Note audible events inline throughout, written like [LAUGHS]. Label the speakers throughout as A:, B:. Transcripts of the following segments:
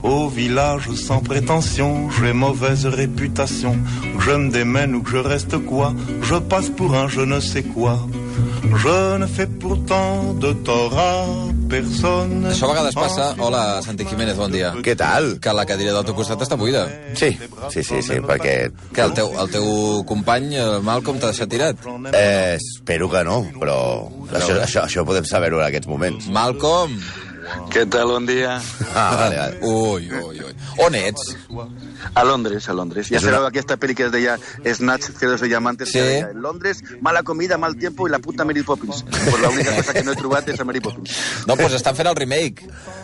A: Au village sans prétention, j'ai mauvaise réputation. Que je me démène ou que je reste quoi, je passe pour un je ne sais quoi. Je ne fais pourtant de tort à personne.
B: Això a vegades passa... Hola, Santi Jiménez, bon dia.
C: Què tal?
B: Que la cadira del teu costat està buida.
C: Sí, sí, sí, sí, perquè...
B: Que el teu, el teu company, el Malcolm, t'ha deixat tirat.
C: Eh, espero que no, però això, això, això podem saber-ho en aquests moments.
B: Malcolm!
D: ¿Qué tal? Buen día.
C: Ah, vale, vale.
B: Ui, ui, ui. On ets?
D: A Londres, a Londres. Ya
C: Es
D: se
C: una-
D: daba aquí esta peli que es de ya Snatch, que es de diamantes.
B: Sí.
D: En Londres, mala comida, mal tiempo y la puta Mary Poppins. Pues la única cosa que no he trobat és a Mary Poppins.
B: No, doncs estan fent el remake.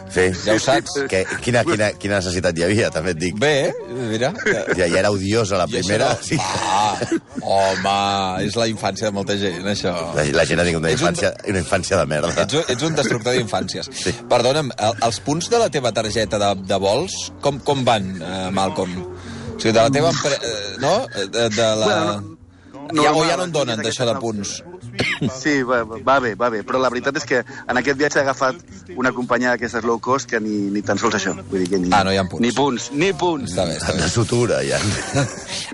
C: Sí.
B: Ja ho saps.
C: Que, quina, quina, quina necessitat hi havia, també et dic.
B: Bé, mira...
C: Ja, ja era odiosa la
B: I això
C: primera.
B: no- Va, home, és la infància de molta gent, això.
C: La, la gent ha tingut una
B: Ets un-
C: infància, una infància de merda.
B: Ets, un- ets un destructor d'infàncies. Sí. Perdona'm, el, els punts de la teva targeta de, de vols, com, com van, eh, Malcolm? O sigui, de la teva... empre- Eh, no? De, de la...
D: Bueno,
B: no,
D: no-
B: ja, o ja
D: normal,
B: no en donen, d'això de punts.
D: Sí, va, va bé, va bé. Però la veritat és que en aquest viatge he agafat una companyia d'aquestes low cost que ni, ni tan sols això. Vull dir que ni,
B: Ah, no hi ha punts.
D: Ni punts, ni punts.
B: Està bé, està bé.
C: De sutura, ja.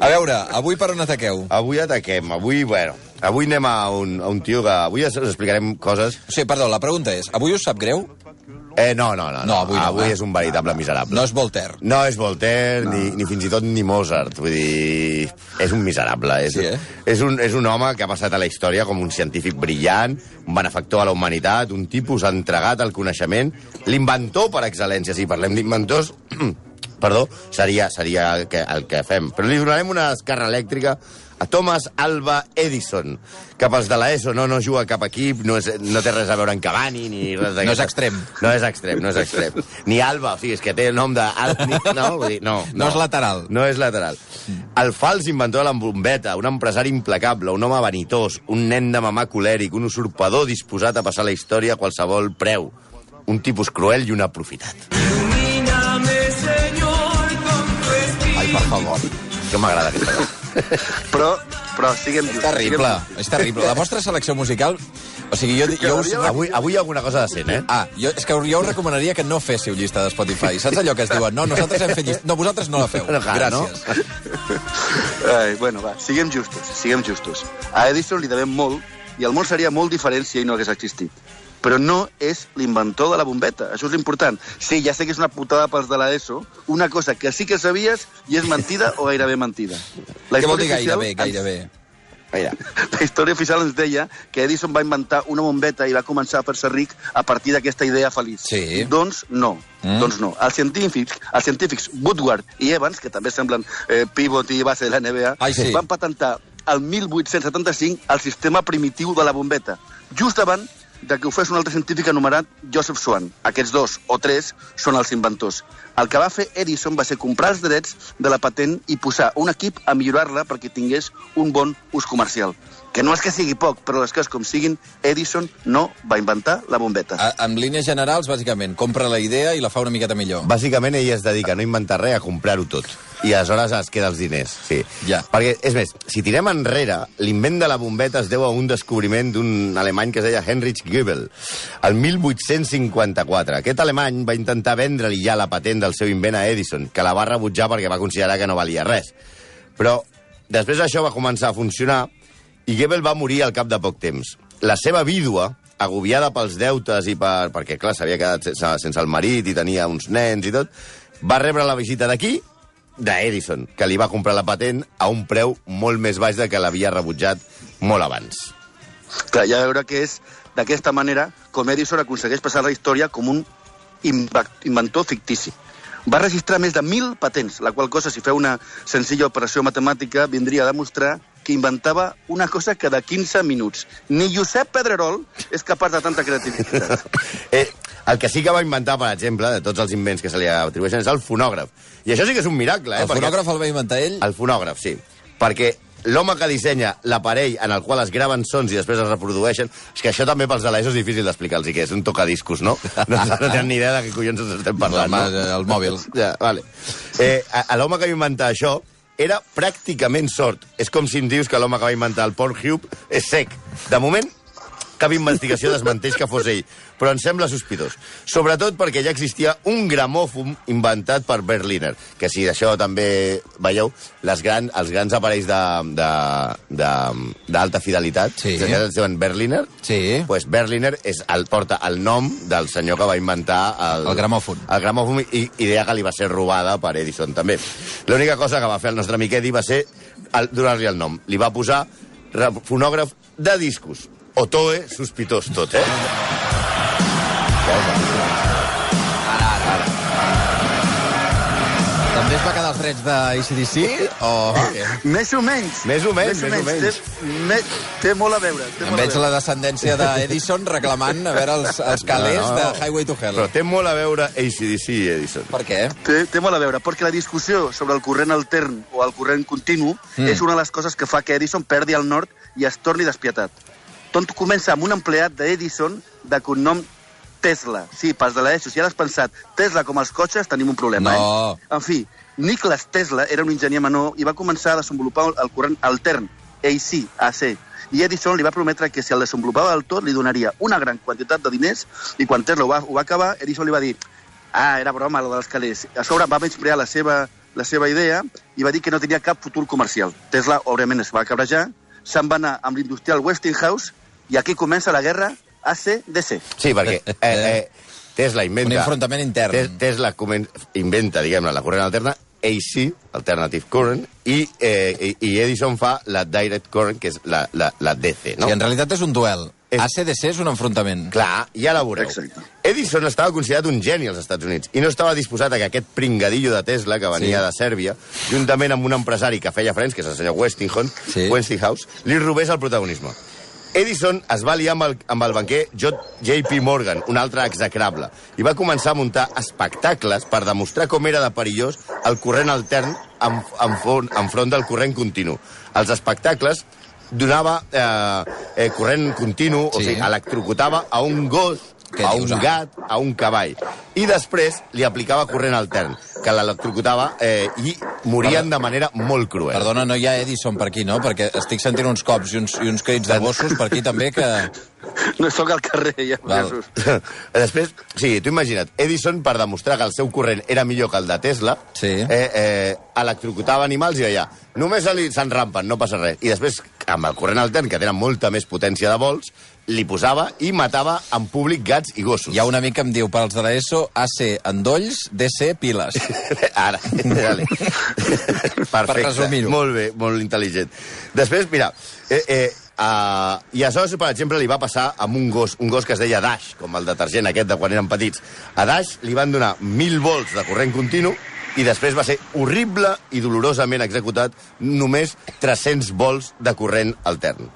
B: A veure, avui per on ataqueu?
C: Avui ataquem, avui, bueno... Avui anem a un, a un tio que... Avui us explicarem coses...
B: O sigui, perdó, la pregunta és, avui us sap greu?
C: Eh, no, no, no.
B: No, avui no,
C: avui
B: va.
C: és un veritable miserable.
B: No és Voltaire.
C: No és Voltaire, no. ni, ni fins i tot ni Mozart. Vull dir, és un miserable. És,
B: Sí, eh?
C: és, un, és un home que ha passat a la història com un científic brillant, un benefactor a la humanitat, un tipus entregat al coneixement, l'inventor per excel·lència. Si parlem d'inventors, [CLEARS THROAT] perdó, seria, seria el, que, el que fem. Però li donarem una escarra elèctrica a Thomas Alba Edison, que pels de l'ESO no, no juga a cap equip, no, és, no té res a veure amb Cavani, ni res d'aquestes-
B: No és extrem.
C: No és extrem, no és extrem. Ni Alba, o sigui, és que té el nom de... Al- ni- No, vull dir, no,
B: No és lateral.
C: No és lateral. El fals inventor de l'embombeta, un empresari implacable, un home vanitós, un nen de mamà colèric, un usurpador disposat a passar la història a qualsevol preu. Un tipus cruel i un aprofitat.
B: Ai, per favor.
C: Que m'agrada aquesta cosa.
D: Però, però siguem
B: És
D: justos.
B: terrible, és terrible. La vostra selecció musical... O sigui, jo, jo us...
C: Avui, avui hi ha alguna cosa decent, eh?
B: Ah, jo, és que jo us recomanaria que no féssiu llista de Spotify. Saps allò que es diuen? No, nosaltres hem fet llista... No, vosaltres no la feu.
C: No cal, no?
B: Gràcies. No?
D: Ai, bueno, va, siguem justos, siguem justos. A Edison li devem molt, i el món seria molt diferent si ell no hagués existit. Però no és l'inventor de la bombeta, això és l'important. Sí, ja sé que és una putada pels de l'ESO, una cosa que sí que sabies i és mentida o gairebé mentida. La
B: Què vol dir
D: història oficial
B: gairebé, gairebé?
C: Mira.
D: la història oficial ens deia que Edison va inventar una bombeta i va començar a fer-se ric a partir d'aquesta idea feliç.
B: Sí.
D: Doncs no,
B: Mm.
D: mm. doncs no. Els científics, els científics Woodward i Evans, que també semblen eh, pivot i base de la NBA,
B: Ai, sí.
D: van patentar el 1875 el sistema primitiu de la bombeta, just davant de que ho fes un altre científic anomenat Joseph Swan. Aquests dos o tres són els inventors. El que va fer Edison va ser comprar els drets de la patent i posar un equip a millorar-la perquè tingués un bon ús comercial. Que no és que sigui poc, però les coses com siguin, Edison no va inventar la bombeta.
B: A, en línies generals, bàsicament, compra la idea i la fa una miqueta millor.
C: Bàsicament, ell es dedica a no inventar res, a comprar-ho tot. I aleshores es queda els diners. Sí.
B: Ja.
C: Perquè, és més, si tirem enrere, l'invent de la bombeta es deu a un descobriment d'un alemany que es deia Heinrich Goebel, el 1854. Aquest alemany va intentar vendre-li ja la patent del seu invent a Edison, que la va rebutjar perquè va considerar que no valia res. Però després això va començar a funcionar i Goebbels va morir al cap de poc temps. La seva vídua, agobiada pels deutes i per... perquè, clar, s'havia quedat sense, sense el marit i tenia uns nens i tot, va rebre la visita d'aquí, d'Edison, que li va comprar la patent a un preu molt més baix de que l'havia rebutjat molt abans.
D: Clar, ja veure que és d'aquesta manera com Edison aconsegueix passar la història com un inva- inventor fictici. Va registrar més de 1.000 patents, la qual cosa, si feu una senzilla operació matemàtica, vindria a demostrar que inventava una cosa cada 15 minuts. Ni Josep Pedrerol és capaç de tanta creativitat.
C: [LAUGHS] Eh, el que sí que va inventar, per exemple, de tots els invents que se li atribueixen, és el fonògraf. I això sí que és un miracle, eh?
B: El
C: perquè- Ah.
B: fonògraf el va inventar ell?
C: El fonògraf, sí. Perquè l'home que dissenya l'aparell en el qual es graven sons i després es reprodueixen... És que això també pels de l'ESO és difícil d'explicar-los i que és un tocadiscos,
B: [LAUGHS]
C: no? No, no tenen ni idea de què collons ens estem parlant,
B: Home,
C: no?
B: el mòbil.
C: [LAUGHS] Ja, vale. Eh, a- a l'home que va inventar això era pràcticament sort. És com si em dius que l'home que va inventar el Pornhub és sec. De moment, cap investigació desmenteix que fos ell, però em sembla sospitós. Sobretot perquè ja existia un gramòfon inventat per Berliner, que si d'això també veieu, les gran, els grans aparells de- de- de- d'alta fidelitat,
B: Sí.
C: que es diuen Berliner,
B: Sí.
C: pues Berliner és el, porta el nom del senyor que va inventar el,
B: El gramòfon.
C: El gramòfon, i idea que li va ser robada per Edison, també. L'única cosa que va fer el nostre Miquedi va ser el- donar-li el nom. Li va posar re- fonògraf de discos. O toe, sospitós tot,
B: [LAUGHS]
C: eh?
B: També es va quedar els drets d'ACDC o...
D: Més o menys.
C: Més o menys, més o menys.
D: Té, me, té molt a veure. Té
B: Em
D: molt a
B: veig
D: veure.
B: la descendència d'Edison reclamant a veure els, els calés
C: No, no.
B: de Highway to Hell.
C: Però té molt a veure ACDC i Edison.
B: Per què?
D: Té, té molt a veure, perquè la discussió sobre el corrent altern o el corrent continu mm. és una de les coses que fa que Edison perdi el nord i es torni despietat. Tot comença amb un empleat d'Edison de cognom Tesla. Sí, pels de l'ESO, si ara has pensat Tesla com els cotxes, tenim un problema,
B: No.
D: eh? En fi, Nicholas Tesla era un enginyer menor i va començar a desenvolupar el corrent altern, AC, AC, i Edison li va prometre que si el desenvolupava del tot li donaria una gran quantitat de diners i quan Tesla ho va, ho va acabar, Edison li va dir ah, era broma lo dels calés. A sobre va menysprear la seva, la seva idea i va dir que no tenia cap futur comercial. Tesla, òbviament, es va cabrejar, se'n va anar amb l'industrial Westinghouse i aquí comença la guerra ACDC.
C: Sí,
B: [LAUGHS]
C: perquè eh, eh, Tesla inventa...
B: Un enfrontament intern.
C: Te- Tesla comen- inventa, diguem-ne, la corrent alterna, AC, Alternative Current, i, eh, i i Edison fa la Direct Current, que és la, la, la DC,
B: No.
C: no?
B: Sí, en realitat és un duel.
C: És-
B: ACDC és un enfrontament.
C: Mm. Clar, ja la veureu.
D: Exacte.
C: Edison estava considerat un geni als Estats Units i no estava disposat a que aquest pringadillo de Tesla, que venia
B: Sí.
C: sí. de Sèrbia, juntament amb un empresari que feia frens, que és el senyor Westinghouse,
B: Sí.
C: sí. Westinghouse li robés el protagonisme. Edison es va liar amb el, amb el banquer Jo- JP Morgan, un altre execrable, i va començar a muntar espectacles per demostrar com era de perillós el corrent altern en- enfront, enfront del corrent continu. Els espectacles donava eh, eh, corrent continu, sí. o
B: Sí.
C: sigui, electrocutava a un gos,
B: Què
C: a un
B: dius, ah? ara?
C: gat, a un cavall. I després li aplicava corrent altern, que l'electrocutava eh, i morien de manera molt cruel.
B: Perdona, no hi ha Edison per aquí, no? Perquè estic sentint uns cops i uns, i uns crits de gossos per aquí també que...
D: [LAUGHS] No sóc al carrer, ja,
B: Val.
D: Jesús.
C: [LAUGHS] Després, sí, tu imagina't, Edison, per demostrar que el seu corrent era millor que el de Tesla,
B: Sí.
C: eh, eh, electrocutava animals i deia, només li- s'enrampen, no passa res. I després, amb el corrent altern, que tenen molta més potència de vols, li posava i matava en públic gats i gossos.
B: Hi ha un amic que em diu, pels de l'ESO, AC endolls, DC piles.
C: [LAUGHS] Ara,
B: [LAUGHS]
C: vale. Perfecte.
B: resumir-ho.
C: Molt bé, molt intel·ligent. Després, mira, eh, eh, uh, i a Sos, per exemple, li va passar amb un gos, un gos que es deia Dash, com el detergent aquest de quan eren petits. A Dash li van donar 1.000 volts de corrent continu i després va ser horrible i dolorosament executat només 300 volts de corrent altern.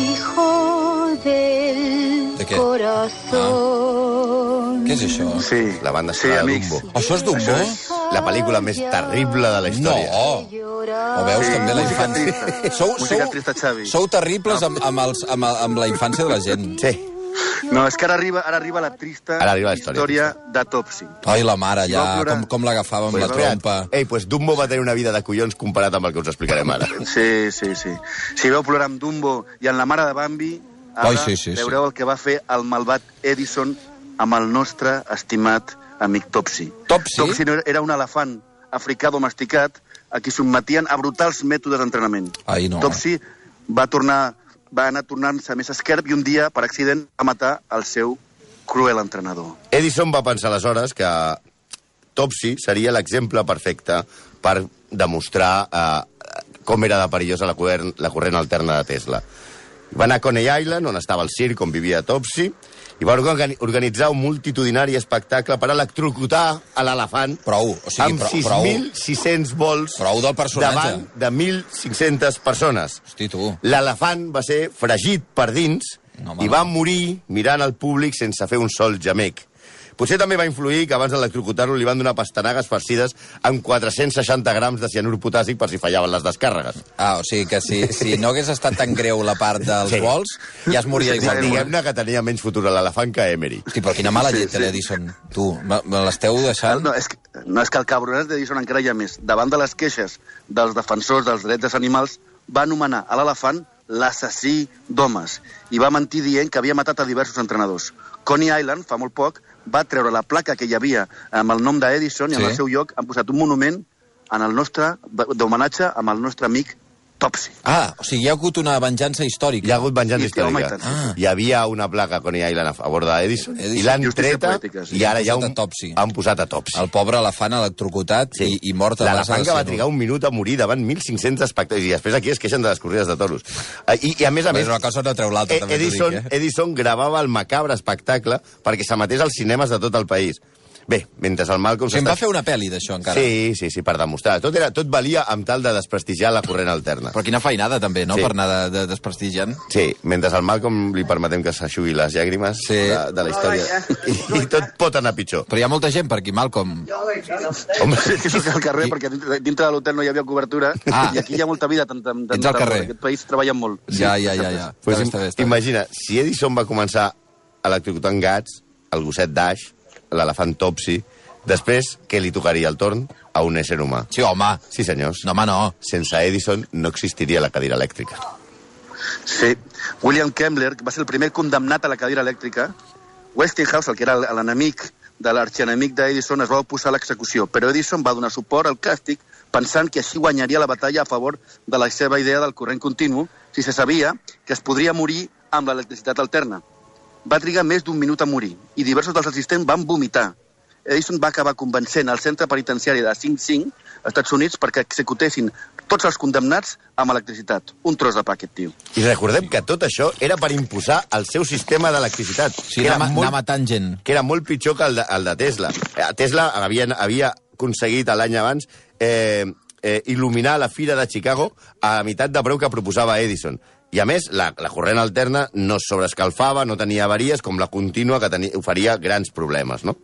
E: Hijo del
B: ¿De qué? Ah.
E: corazón.
B: Què és això?
D: Sí,
C: La banda
D: sí,
C: sonora de
D: amics.
C: Dumbo.
B: Això és eh? Dumbo?
C: La pel·lícula més terrible de
B: No!
C: la història.
B: Oh, Ho veus,
D: Sí,
B: també, la
D: música
B: infància.
D: trista.
B: Sou,
D: Música trista,
B: sou,
D: Xavi.
B: sou terribles amb, amb, els, amb, amb la infància de la gent.
C: Sí.
D: No, és que ara arriba, ara arriba la trista
C: Ara arriba la història.
D: història d'Atopsy.
B: Ai, la mare, ja,
D: Va plorar.
B: com, com l'agafava amb
C: Pues,
B: la trompa.
C: Ei, pues Dumbo va tenir una vida de collons comparat amb el que us explicarem ara.
D: Sí, sí, sí. Si veu plorar amb Dumbo i en la mare de Bambi, ara
B: Ai, sí, sí, sí.
D: veureu el que va fer el malvat Edison amb el nostre estimat amic Topsy.
B: Topsy?
D: Topsy no era- era un elefant africà domesticat a qui sotmetien a brutals mètodes d'entrenament.
B: Ai, no.
D: Topsy va tornar va anar tornant-se més esquerp i un dia, per accident, va matar el seu cruel entrenador.
C: Edison va pensar aleshores que Topsy seria l'exemple perfecte per demostrar eh, com era de perillosa la corrent, la corrent alterna de Tesla. Va anar a Coney Island, on estava el circ, on vivia Topsy, i va organi- organitzar un multitudinari espectacle per electrocutar a l'elefant
B: Prou, o sigui,
C: amb
B: prou- prou.
C: 6.600 volts
B: Prou del personatge.
C: davant de 1.500 persones.
B: Hosti, tu.
C: L'elefant va ser fregit per dins
B: No,
C: no,
B: home,
C: i va morir mirant al públic sense fer un sol gemec. Potser també va influir que abans d'electrocutar-lo li van donar pastanagues farcides amb 460 grams de cianur potàssic per si fallaven les descàrregues.
B: Ah, o sigui que si, si no hagués estat tan greu la part dels
C: Sí.
B: vols, ja es moria igual.
C: Diguem-ne que tenia menys futur a l'elefant que Emery.
B: Hosti, però quina mala
D: Sí,
B: llet,
D: sí.
B: l'Edison. Tu, me, me l'esteu deixant...
D: No, és que, no, és que el cabronet d'Edison encara hi ha més. Davant de les queixes dels defensors dels drets dels animals, va anomenar a l'elefant l'assassí d'homes, i va mentir dient que havia matat a diversos entrenadors. Coney Island, fa molt poc, va treure la placa que hi havia amb el nom d'Edison i
B: Sí.
D: en el seu lloc han posat un monument en el nostre d'homenatge amb el nostre amic Topsy.
B: Ah, o sigui, hi ha hagut una venjança
C: Hi ha
B: històrica.
C: hagut venjança
D: Sí, sí, home,
C: històrica.
D: i tant.
C: Ah. Hi havia una placa Coney Island a favor d'Edison
B: Edison.
C: i l'han
D: Justícia
C: treta
D: poètica, sí.
C: i ara
B: Han
C: ja
B: posat
C: un,
B: a Topsy.
C: han posat a Topsy.
B: El pobre elefant electrocutat sí. i, i mort a
C: L'elefant que va
B: Barcelona.
C: trigar un minut a morir davant 1.500 espectadors i després aquí es queixen de les corrides de toros. Eh, I, i a més a
B: Bé,
C: més...
B: una cosa no treu l'altra,
C: Eh,
B: també t'ho
C: Edison,
B: dic, eh?
C: Edison gravava el macabre espectacle perquè s'emetés als cinemes de tot el país. Bé, mentre el Malcolm...
B: O sigui, en
C: s'està-
B: va fer una pel·li d'això, encara.
C: Sí, sí, sí, per demostrar. Tot, era, tot valia amb tal de desprestigiar la corrent alterna.
B: Però quina feinada, també, no?,
C: Sí.
B: sí. per anar de, de, desprestigiant.
C: Sí, mentre al Malcolm li permetem que s'aixugui les llàgrimes
B: Sí.
C: de, de la història. I, I tot pot anar pitjor.
B: Però hi ha molta gent per aquí, Malcolm.
D: [LAUGHS]
C: Home,
D: que sóc al carrer, perquè dintre dintre de l'hotel no hi havia cobertura,
B: Ah.
D: i aquí hi ha molta vida. Tant, tant,
B: Ets al carrer.
D: Aquest país treballen molt.
B: Ja, ja, ja, ja.
C: pues,
B: Està bé, està bé, està bé.
C: imagina, si Edison va començar electrocutant gats, el gosset Dash, l'elefant Topsy, després què li tocaria el torn a un ésser humà?
B: Sí, home.
C: Sí, senyors.
B: No, home, no.
C: Sense Edison no existiria la cadira elèctrica.
D: Sí. William Kembler que va ser el primer condemnat a la cadira elèctrica. Westinghouse, el que era el- l'enemic de l'arxienemic d'Edison, es va oposar a l'execució, però Edison va donar suport al càstig pensant que així guanyaria la batalla a favor de la seva idea del corrent continu si se sabia que es podria morir amb l'electricitat alterna. Va trigar més d'un minut a morir i diversos dels assistents van vomitar. Edison va acabar convencent el centre penitenciari de 5-5, Estats Units, perquè executessin tots els condemnats amb electricitat. Un tros de pa, aquest tio.
C: I recordem que tot això era per imposar el seu sistema d'electricitat.
B: O
C: que
B: sigui,
C: era
B: anar, molt... anar matant gent.
C: que era molt pitjor que el de, el de Tesla. Eh, Tesla havia, havia aconseguit l'any abans eh, eh, il·luminar la fira de Chicago a la meitat de preu que proposava Edison. I, a més, la, la corrent alterna no es sobreescalfava, no tenia avaries, com la contínua, que tenia, oferia grans problemes, no?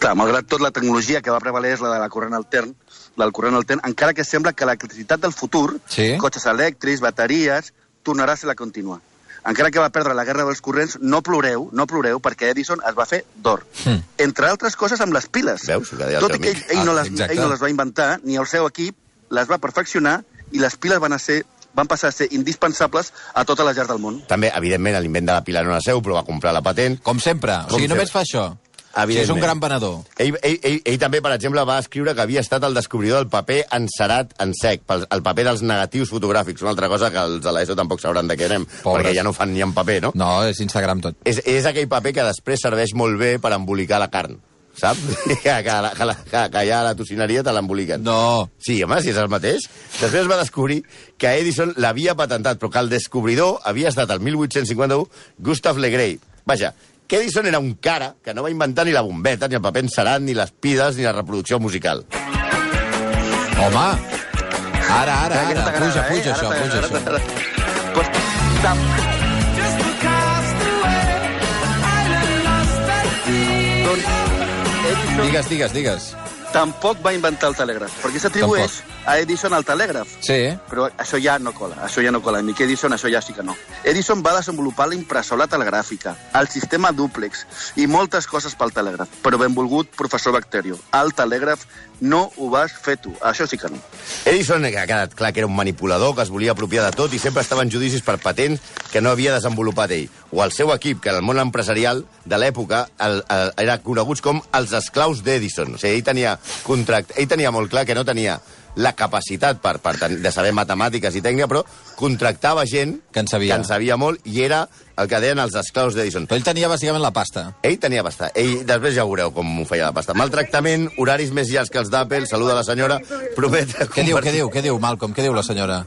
D: Clar, malgrat tot, la tecnologia que va prevaler és la de la corrent altern, la del corrent altern, encara que sembla que l'electricitat del futur,
B: Sí.
D: cotxes elèctrics, bateries, tornarà a ser la contínua. Encara que va perdre la guerra dels corrents, no ploreu, no ploreu, perquè Edison es va fer d'or.
B: Hm.
D: Entre altres coses amb les piles.
C: Veus, ho que deia el
D: Tot
C: teu
D: i que ell,
C: amic.
D: ell, no
B: Ah,
D: les,
B: exacte.
D: ell no les va inventar, ni el seu equip, les va perfeccionar i les piles van, a ser, van passar a ser indispensables a totes les llars del món.
C: També, evidentment, l'invent de la pila no era seu, però va comprar la patent.
B: Com sempre. O
C: Com
B: sigui, només
C: sempre.
B: fa això. O sigui, és un
C: Evidentment.
B: gran venedor.
C: Ell, ell, ell, ell també, per exemple, va escriure que havia estat el descobridor del paper encerat en sec, pel, el paper dels negatius fotogràfics, una altra cosa que els de l'ESO tampoc sabran de què anem,
B: Pobres.
C: perquè ja no fan ni en paper, no?
B: No, és Instagram tot.
C: és, és aquell paper que després serveix molt bé per embolicar la carn, saps? [LAUGHS] que, que, la- que, la- que, que ja a la tocineria te l'emboliquen.
B: No.
C: Sí, home, si és el mateix. Després va descobrir que Edison l'havia patentat, però que el descobridor havia estat el 1851 Gustave Le Gray. Vaja, que Edison era un cara que no va inventar ni la bombeta, ni el paper encerat, ni les pides, ni la reproducció musical.
B: Home. Ara, ara, ara.
D: Aquesta t'agrada,
B: Puja,
D: eh?
B: puja,
D: Ara
B: això,
D: t'agrada,
B: puja,
D: ara
B: això.
D: t'agrada. Pues, tam- Doncs, Edison
B: Digues, digues, digues.
D: tampoc va inventar el telègraf, perquè s'atribueix a Edison el telègraf.
B: Sí.
D: Però això ja no cola, això ja no cola. Amic Edison, això ja sí que no. Edison va desenvolupar la impressora telegràfica, el sistema dúplex i moltes coses pel telègraf. Però benvolgut, professor Bacterio, el telègraf no ho vas fer tu. Això sí que no.
C: Edison que ha quedat clar que era un manipulador, que es volia apropiar de tot i sempre estava en judicis per patents que no havia desenvolupat ell. O el seu equip, que en el món empresarial de l'època el- el- era coneguts com els esclaus d'Edison. O sigui, ell tenia, contract... ell tenia molt clar que no tenia la capacitat per, per ten... de saber matemàtiques i tècnica, però contractava gent
B: Que en sabia.
C: que en sabia molt i era el que deien els esclaus d'Edison.
B: Però ell tenia bàsicament la pasta.
C: Ell tenia pasta. Ell, després ja ho veureu com ho feia la pasta. Maltractament, horaris més llargs que els d'Apple, saluda la senyora, promet...
B: Què diu, què diu, què diu, Malcolm? Què diu la senyora?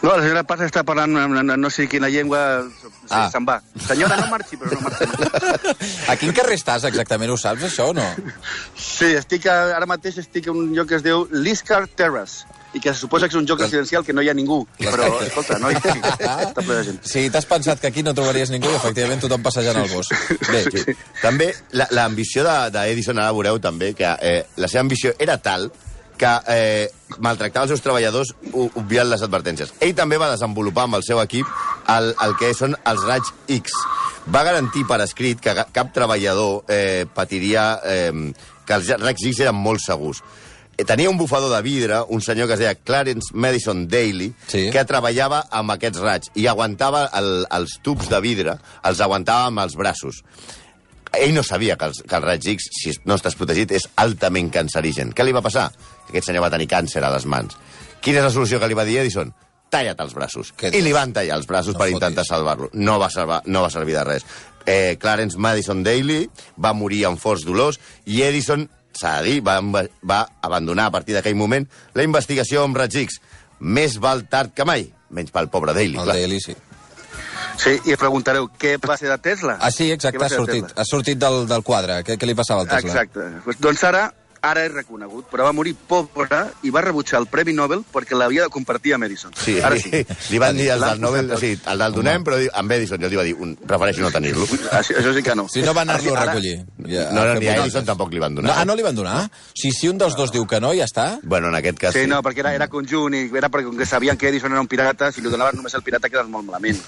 D: No, la senyora Paz està parlant no, no, no sé quina llengua... Sí,
B: Ah.
D: Se'n va. Senyora, no marxi, però no marxi.
B: A quin carrer estàs exactament? Ho saps, això, o no?
D: Sí, estic a, ara mateix estic en un lloc que es diu Liscar Terrace i que se suposa que és un joc residencial que no hi ha ningú. Però, escolta, no hi està ple de gent.
B: Si t'has pensat que aquí no trobaries ningú, i efectivament tothom passejant el gos. Bé,
C: Sí. També la- l'ambició de- d'Edison, ara veureu també que eh, la seva ambició era tal que eh, maltractava els seus treballadors o- obviant les advertències. Ell també va desenvolupar amb el seu equip el, el que són els raigs X. Va garantir per escrit que ga- cap treballador eh, patiria... Eh, que els raigs X eren molt segurs. tenia un bufador de vidre, un senyor que es deia Clarence Madison Daly,
B: Sí.
C: que treballava amb aquests raigs i aguantava el, els tubs de vidre, els aguantava amb els braços. Ell no sabia que els, que els raigs X, si no estàs protegit, és altament cancerigen. Què li va passar? Que aquest senyor va tenir càncer a les mans. Quina és la solució que li va dir Edison? Talla't els braços.
B: Què
C: I
B: dius?
C: li van tallar els braços
B: No
C: per
B: fotis.
C: intentar salvar-lo. No, va salvar, no va servir de res. Eh, Clarence Madison Daly va morir amb forts dolors i Edison, s'ha de dir, va, enve- va abandonar a partir d'aquell moment la investigació amb raigs X. Més val tard que mai, menys pel pobre Daly.
B: El
C: clar.
B: Daily, sí.
D: Sí, i preguntareu, què va ser de Tesla?
B: Ah, sí,
D: Què
B: exacte,
D: va
B: ha
D: ser de
B: sortit,
D: Tesla?
B: ha sortit del, del quadre. Què, què li passava al Tesla?
D: Ah, Exacte. Pues, doncs ara ara és reconegut, però va morir pobre i va rebutjar el Premi Nobel perquè l'havia de compartir amb Edison.
C: Sí,
D: Ara
B: [LAUGHS]
D: sí.
C: [LAUGHS] li van dir el
D: L'han
C: del Nobel, o sigui, el del donem, però di- amb Edison jo li va dir, un, prefereixo no
D: [LAUGHS]
C: tenir-lo.
D: Això, això sí que no.
B: Si no va anar-lo a
D: Ara-
B: recollir. Ja,
C: No, no,
B: fer
C: ni a
B: bonotes.
C: Edison tampoc li van
B: No,
C: donar.
B: ah, no li van donar? Si, si un dels dos diu que no, ja està.
C: Bueno, en aquest cas...
D: Sí, no, perquè era, era conjunt i era perquè com que sabien que Edison era un pirata, si li donaven només el pirata quedaves molt malament.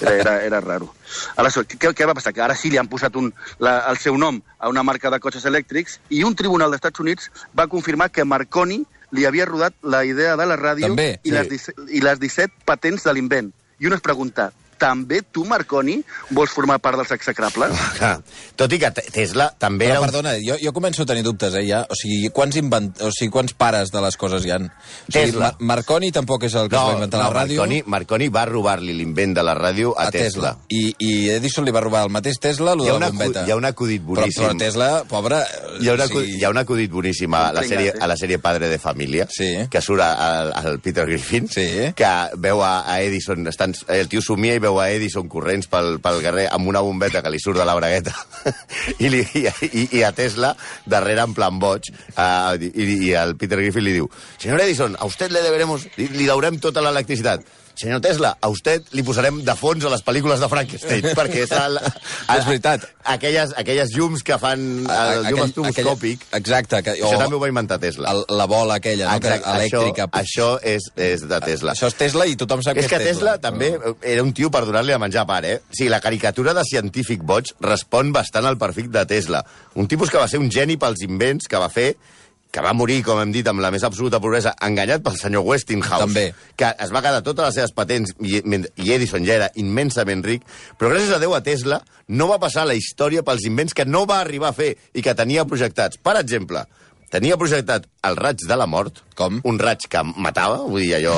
D: Era, era, era raro. Ara, què, què va passar? Que ara sí li han posat un, la, el seu nom a una marca de cotxes elèctrics i un tribunal dels Estats Units va confirmar que Marconi li havia rodat la idea de la ràdio
B: També,
D: i, les, dis- i les 17 patents de l'invent. I un es pregunta, també tu, Marconi, vols formar part dels execrables?
C: Clar. [LAUGHS] Tot i que Te- Tesla també
B: Però,
C: era... Un...
B: perdona, jo, jo començo a tenir dubtes, eh, ja. O sigui, quants, invent... o sigui, quants pares de les coses hi han? O sigui,
C: Tesla.
B: Mar Marconi tampoc és el que es va inventar la ràdio.
C: Marconi, Marconi va robar-li l'invent de la ràdio a, Tesla.
B: I, I Edison li va robar el mateix Tesla, lo
C: Hi ha
B: de
C: un
B: la
C: acu-
B: bombeta.
C: hi ha un acudit boníssim.
B: Però, però Tesla, pobre...
C: Hi ha, una, sí. hi ha un acudit boníssim a la,
D: Complicat,
C: sèrie,
D: eh?
C: a la sèrie Padre de Família,
B: Sí.
C: que surt al, al Peter Griffin,
B: Sí.
C: que veu a, a Edison, estan, el tio somia i veu a Edison corrents pel, pel carrer amb una bombeta que li surt de la bragueta [LAUGHS] I, li, i, i, i a Tesla darrere en plan boig uh, i, i el Peter Griffin li diu senyor Edison, a usted le deberemos li, li daurem tota l'electricitat Senyor Tesla, a usted li posarem de fons a les pel·lícules de Frankenstein, [LAUGHS] perquè és, el,
B: És veritat.
C: Aquelles, aquelles llums que fan el llum estroboscòpic.
B: Aquella, exacte. Que,
C: Això també ho va inventar Tesla.
B: el, la bola aquella, no?
C: Exacte,
B: que, elèctrica.
C: Això, això és, és de Tesla.
B: això és Tesla i tothom sap
C: és que Tesla,
B: però-
C: també era un tio per donar-li a menjar a part, eh? O sigui, la caricatura de científic boig respon bastant al perfil de Tesla. Un tipus que va ser un geni pels invents que va fer que va morir, com hem dit, amb la més absoluta pobresa, enganyat pel senyor Westinghouse,
B: També.
C: que es va quedar totes les seves patents, i, i Edison ja era immensament ric, però gràcies a Déu a Tesla no va passar la història pels invents que no va arribar a fer i que tenia projectats. Per exemple, tenia projectat el raig de la mort,
B: Com?
C: un raig que matava, vull dir,
B: [LAUGHS]
C: allò...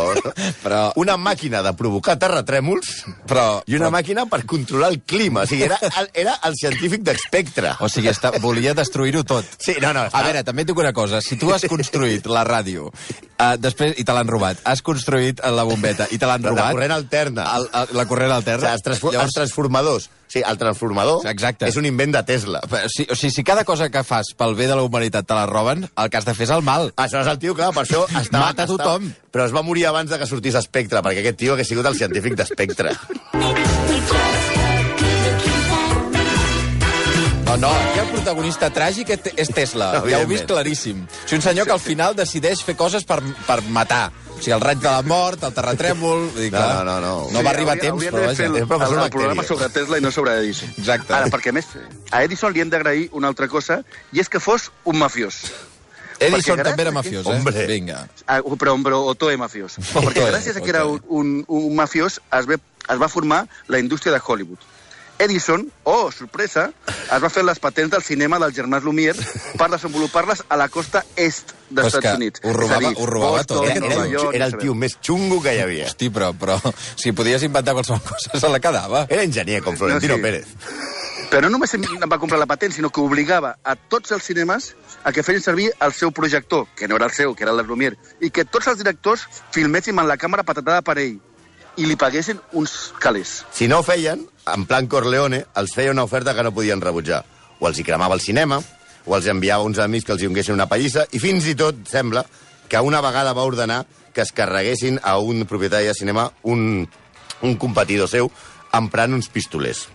B: Però-
C: Una màquina de provocar terratrèmols
B: Però-
C: i una
B: però-
C: màquina per controlar el clima. O sigui, era, el- era el científic d'espectre.
B: O sigui, està, volia destruir-ho tot.
C: Sí, no, ah. no,
B: A
C: està-
B: veure, també et dic una cosa. Si tu has construït la ràdio uh, després i te l'han robat, has construït la bombeta i te l'han
C: Però la
B: robat...
C: corrent alterna.
B: El, el, la corrent
C: O
B: alterna.
C: sigui, els, transfor els transformadors. Sí, el transformador
B: Exacte.
C: és un invent de Tesla.
B: Però, si, o sigui, si cada cosa que fas pel bé de la humanitat te la roben, el que has de fer és el mal.
C: Ah, Això és el tio, clar,
B: [LAUGHS]
C: per això estava...
B: Mata
C: estava-
B: tothom.
C: Però es va morir abans de que sortís Espectre, perquè aquest tio hagués sigut el científic
D: [LAUGHS]
C: d'Espectre.
B: No, no, aquí el protagonista tràgic és Te- és Tesla.
C: No,
B: ja ho he
C: evidentment.
B: vist claríssim. O sigui, un senyor que al final decideix fer coses per, per matar. O sigui, el raig de la mort, el terratrèmol... Vull dir,
C: No,
B: clar,
C: no, no, no.
B: No
D: Sí,
B: va arribar a
D: hauria-
B: temps,
D: hauria
B: però vaja.
D: d'haver fet
C: era professor
D: el, el
C: bacteria.
D: programa sobre Tesla i no sobre Edison.
B: Exacte.
D: Ara, perquè a més, a Edison li hem d'agrair una altra cosa, i és que fos un mafiós.
B: Edison
D: perquè
B: també era
D: gràcies-
B: mafiós, eh?
C: Hombre.
B: Vinga.
D: Ah, però, però Otoe
B: [LAUGHS]
D: mafiós. Perquè
B: Otoe,
D: gràcies a que era
B: Otoe.
D: un, un mafiós es, ve, es va formar la indústria de Hollywood. Edison, oh, sorpresa, es va fer les patents del cinema dels germans Lumière per desenvolupar-les a la costa est
B: Però
D: dels
B: és que
D: Estats Units.
B: ho robava-
D: És a dir,
B: ho robava
D: Boston,
B: tot. eh?
C: Era,
B: no,
C: era,
D: Nova
B: no,
C: el,
D: York,
C: era el
D: no sé
C: tio més xungo que hi havia.
B: Hosti, però, però [LAUGHS] si podies inventar qualsevol cosa se la quedava.
C: Era enginyer, com Florentino
D: No, sí.
C: Pérez.
D: Però no només em va comprar la patent, sinó que obligava a tots els cinemes a que feien servir el seu projector, que no era el seu, que era el de Lumière, i que tots els directors filmessin amb la càmera patatada per ell i li paguessin uns calés.
C: Si no ho feien, en plan Corleone, els feia una oferta que no podien rebutjar. O els hi cremava al cinema, o els enviava a uns amics que els hi donguessin una pallissa, i fins i tot sembla que una vegada va ordenar que es carreguessin a un propietari de cinema un, un competidor seu emprant uns pistolers.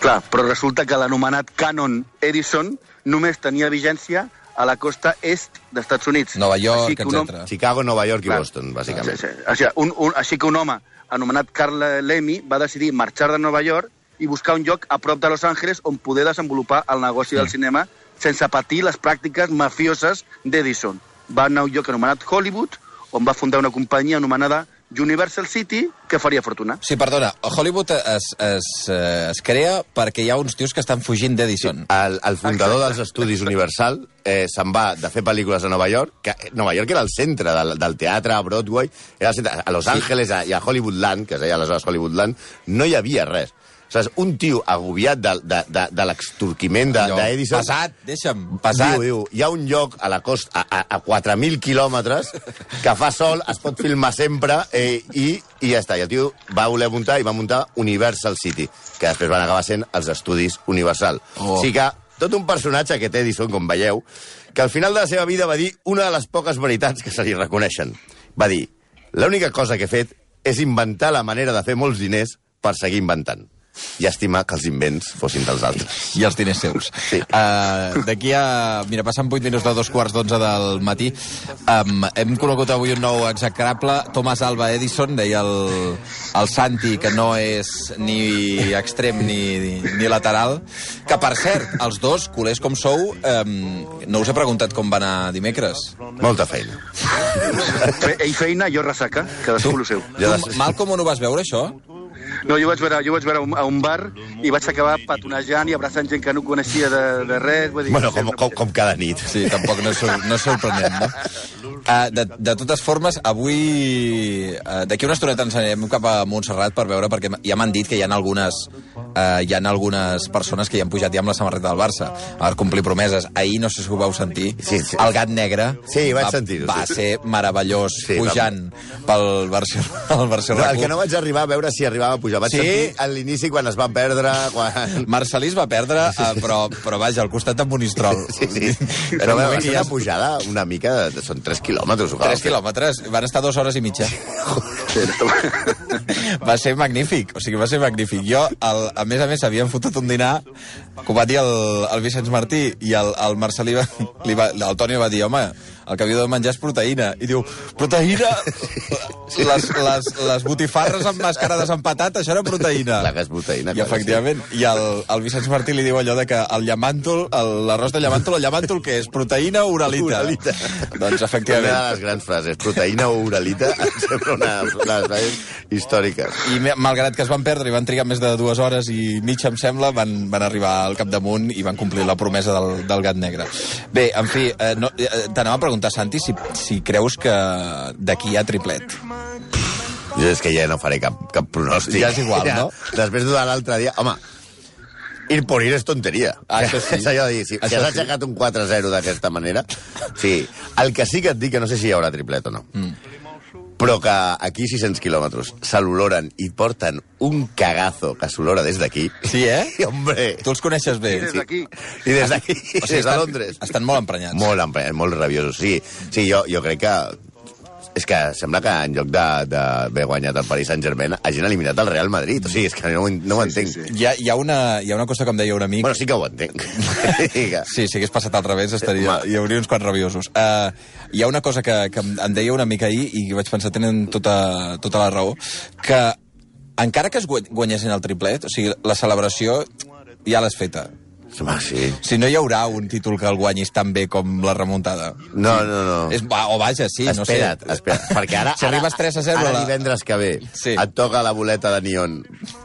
D: Clar, però resulta que l'anomenat Canon Edison només tenia vigència a la costa est dels Estats Units.
B: Nova York,
D: Així que un hom-
B: etcètera.
C: Chicago, Nova York i
D: Ah. Clar.
C: Boston, bàsicament.
D: Sí, sí. O sigui, un, un, així que un home anomenat Carl Lemmy va decidir marxar de Nova York i buscar un lloc a prop de Los Angeles on poder desenvolupar el negoci del cinema sense patir les pràctiques mafioses d'Edison. Va anar a un lloc anomenat Hollywood, on va fundar una companyia anomenada Universal City, que faria fortuna.
B: Sí, perdona, Hollywood es, es, eh, es crea perquè hi ha uns tios que estan fugint d'Edison.
C: El, el fundador dels Estudis Universal eh, se'n va de fer pel·lícules a Nova York, que eh, Nova York era el centre del, del teatre a Broadway, era el centre, a Los Angeles a, i a Hollywoodland, que es deia aleshores Hollywoodland, no hi havia res. O sigui, un tio agobiat de, de, de, de l'extorquiment de-
B: Allò,
C: Ah, d'Edison...
B: Pesat, deixa'm, pesat.
C: Diu, diu, hi ha un lloc a la costa, a, a, a 4.000 quilòmetres, que fa sol, es pot filmar sempre, eh, i, i ja està. I el tio va voler muntar i va muntar Universal City, que després van acabar sent els estudis Universal.
B: Oh.
C: O sigui que tot un personatge que té Edison, com veieu, que al final de la seva vida va dir una de les poques veritats que se li reconeixen. Va dir, l'única cosa que he fet és inventar la manera de fer molts diners per seguir inventant. I estimar que els invents fossin dels altres.
B: i els diners seus. Sí.
C: Sí.
B: Uh, D'aquí a... Mira, passen 8 minuts de dos quarts d'onze del matí. Um, hem conegut avui un nou execrable, Thomas Alba Edison, deia el, el Santi, que no és ni extrem ni, ni lateral, que, per cert, els dos, culers com sou, um, no us he preguntat com va anar dimecres.
C: Molta feina.
D: Fe- Ell feina, jo ressaca, cadascú el seu.
B: Tu, Malcolm, on ho vas veure, això?
D: No, jo vaig veure, jo vaig veure a un, a un bar i vaig acabar patonejant i abraçant gent que no coneixia de, de res. Vull dir,
C: Bueno, com, com, com cada nit.
B: Sí, tampoc no és, sor- no és sorprenent, no? Uh, de, de totes formes, avui... Uh, D'aquí una estoneta ens anirem cap a Montserrat per veure, perquè ja m'han dit que hi ha algunes, uh, hi ha algunes persones que hi han pujat ja amb la samarreta del Barça per complir promeses. Ahir, no sé si ho vau sentir,
C: Sí, sí.
B: el gat negre
C: Sí, vaig
B: va,
C: sentir-ho,
B: va
C: sí.
B: ser meravellós
C: Sí,
B: sí,
C: va-
B: pujant pel Barcelona. El
C: No,
B: Barcelona
C: el que no vaig arribar a veure si arribava a pujar. Vaig
B: Sí?
C: sí? sentir a l'inici quan es van perdre... Quan...
B: Marcelí es va perdre, eh, però, però vaja, al costat de Monistrol.
C: Sí, sí.
B: Era
C: Però
B: un
C: va
B: moment
C: ser
B: que
C: una
B: ja...
C: pujada una mica... de- Són 3 quilòmetres.
B: 3 quilòmetres, van estar dues hores i mitja. va ser magnífic, o sigui, va ser magnífic. Jo, el, a més a més, havien fotut un dinar que ho va dir el, el Vicenç Martí i el, el Marcelí va, li va, el Toni va dir, home, el que havia de menjar és proteïna. I diu, proteïna? Les, les, les botifarres amb mascarades amb patata, això era proteïna.
C: Clar que és
B: I
C: proteïna, clar que sí.
B: efectivament, i el, el Vicenç Martí li diu allò de que el llamàntol, el- l'arròs de llamàntol, el llamàntol que és proteïna o uralita.
C: Uralita.
B: Doncs
C: Una
B: efectivament.
C: de les grans frases, proteïna o uralita, [LAUGHS] em sembla una de les frases històriques.
B: I me- malgrat que es van perdre i van trigar més de dues hores i mitja, em sembla, van, van arribar al capdamunt i van complir la promesa del, del gat negre. Bé, en fi, eh, no, eh, t'anava a preguntar, Santi, si, si creus que d'aquí hi ha triplet.
C: Jo és que ja no faré cap, cap pronòstic.
B: Ja és igual, no?
C: Després de l'altre dia... Home, ir por ir és tonteria.
B: Això sí.
C: és allò de dir, si, si
B: Això
C: has
B: sí.
C: aixecat un 4-0 d'aquesta manera... Sí, el que sí que et dic, que no sé si hi haurà triplet o no, mm. però que aquí 600 quilòmetres se l'oloren i porten un cagazo que s'olora des d'aquí...
B: Sí, eh?
C: I, hombre...
B: Tu els coneixes bé.
D: Des d'aquí.
C: I des d'aquí, o sigui, des de
B: estan,
C: Londres.
B: Estan molt emprenyats.
C: Molt emprenyats, molt rabiosos. Sí, sí jo, jo crec que... És que sembla que en lloc de- d'haver guanyat el Paris Saint-Germain hagin eliminat el Real Madrid. O sigui, és que no, ho en- no ho entenc. Sí, sí,
B: Hi ha, hi, ha una, hi ha una cosa que em deia un amic...
C: Bueno, sí que ho entenc. [LAUGHS] Digue.
B: Sí, si hagués passat al revés estaria,
C: Eh, Home.
B: hi hauria uns quants rabiosos. Uh, hi ha una cosa que, que em- em deia una mica ahir i vaig pensar tenen tota, tota la raó, que encara que es guany- guanyessin el triplet, o sigui, la celebració ja l'has feta.
C: Home, sí.
B: Si no hi haurà un títol que el guanyis tan bé com la remuntada.
C: No, no, no.
B: És, va, o vaja, sí, no sé.
C: espera't, espera't, perquè ara...
B: Si arribes 3 a 0...
C: Ara
B: la-
C: divendres que ve
B: Sí.
C: et toca la boleta de Nion.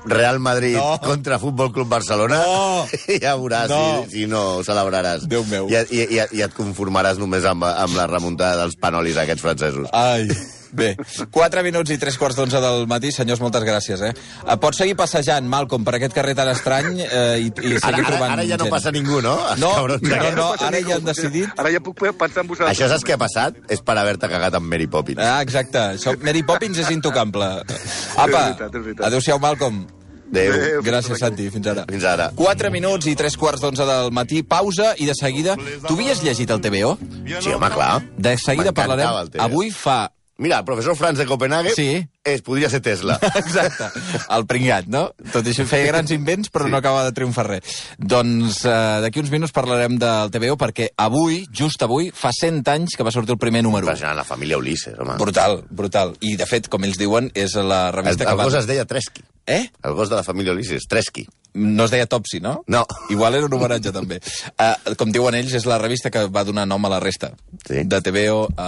C: Real Madrid
B: No.
C: contra Futbol Club Barcelona.
B: No.
C: [LAUGHS] Ja veuràs
B: No.
C: si, si no ho celebraràs.
B: Déu meu.
C: I, i, i, I et conformaràs només amb, amb la remuntada dels panolis aquests francesos.
B: Ai, bé. 4 minuts i 3 quarts d'11 del matí. Senyors, moltes gràcies, eh? Eh, Pots seguir passejant, Malcolm, per aquest carrer tan estrany eh, i, i seguir
C: Ara, ara,
B: trobant
C: ara ja no
B: gent.
C: passa ningú, no? Els
B: No,
C: cabrons
B: no,
C: aquests.
B: no, ara ja hem decidit.
D: Ara ja puc pensar en vosaltres.
C: [LAUGHS] Això saps què ha passat? És per haver-te cagat amb Mary Poppins.
B: Ah, exacte. Això, Mary Poppins és intocable.
D: És
B: Apa,
D: veritat, és veritat.
B: adeu-siau, Malcolm.
C: Déu.
D: Adéu.
B: Gràcies, Santi. Fins ara.
C: Fins ara.
B: 4 minuts i 3 quarts d'11 del matí. Pausa i de seguida... Tu havies llegit el TVO?
C: Sí, home, clar.
B: De seguida
C: M'encantava
B: parlarem...
C: el TVO.
B: Avui fa... [LAUGHS]
C: Mira, el professor Franz de Copenhague
B: Sí.
C: es podria ser
B: [LAUGHS]
C: Tesla.
B: Exacte, el pringat, no? Tot i això feia grans invents, però sí. no acaba de triomfar res. Doncs eh, d'aquí uns minuts parlarem del TVO, perquè avui, just avui, fa 100 anys que va sortir el primer número.
C: Impressionant, la família Ulisses, home.
B: Brutal, brutal. I, de fet, com ells diuen, és la
C: El,
B: revista
C: el
B: que
C: gos
B: va...
C: es deia Tresky.
B: Eh?
C: El gos de la família Ulisses, Tresky.
B: No es deia Topsy, no?
C: No.
B: Igual era un homenatge, també. Uh, com diuen ells, és la revista que va donar nom a la resta.
C: Sí.
B: De TVO a...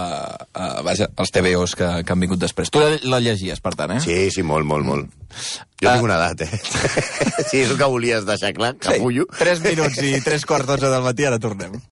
B: a eh, vaja, els TVOs que, que han vingut després. Tu la, la llegies, per tant, eh?
C: Sí, sí, molt, molt, molt. Jo
B: Ah.
C: tinc una edat, eh? [LAUGHS] sí, és el que volies deixar clar, capullo.
B: Tres minuts i tres quarts d'onze del matí, ara tornem.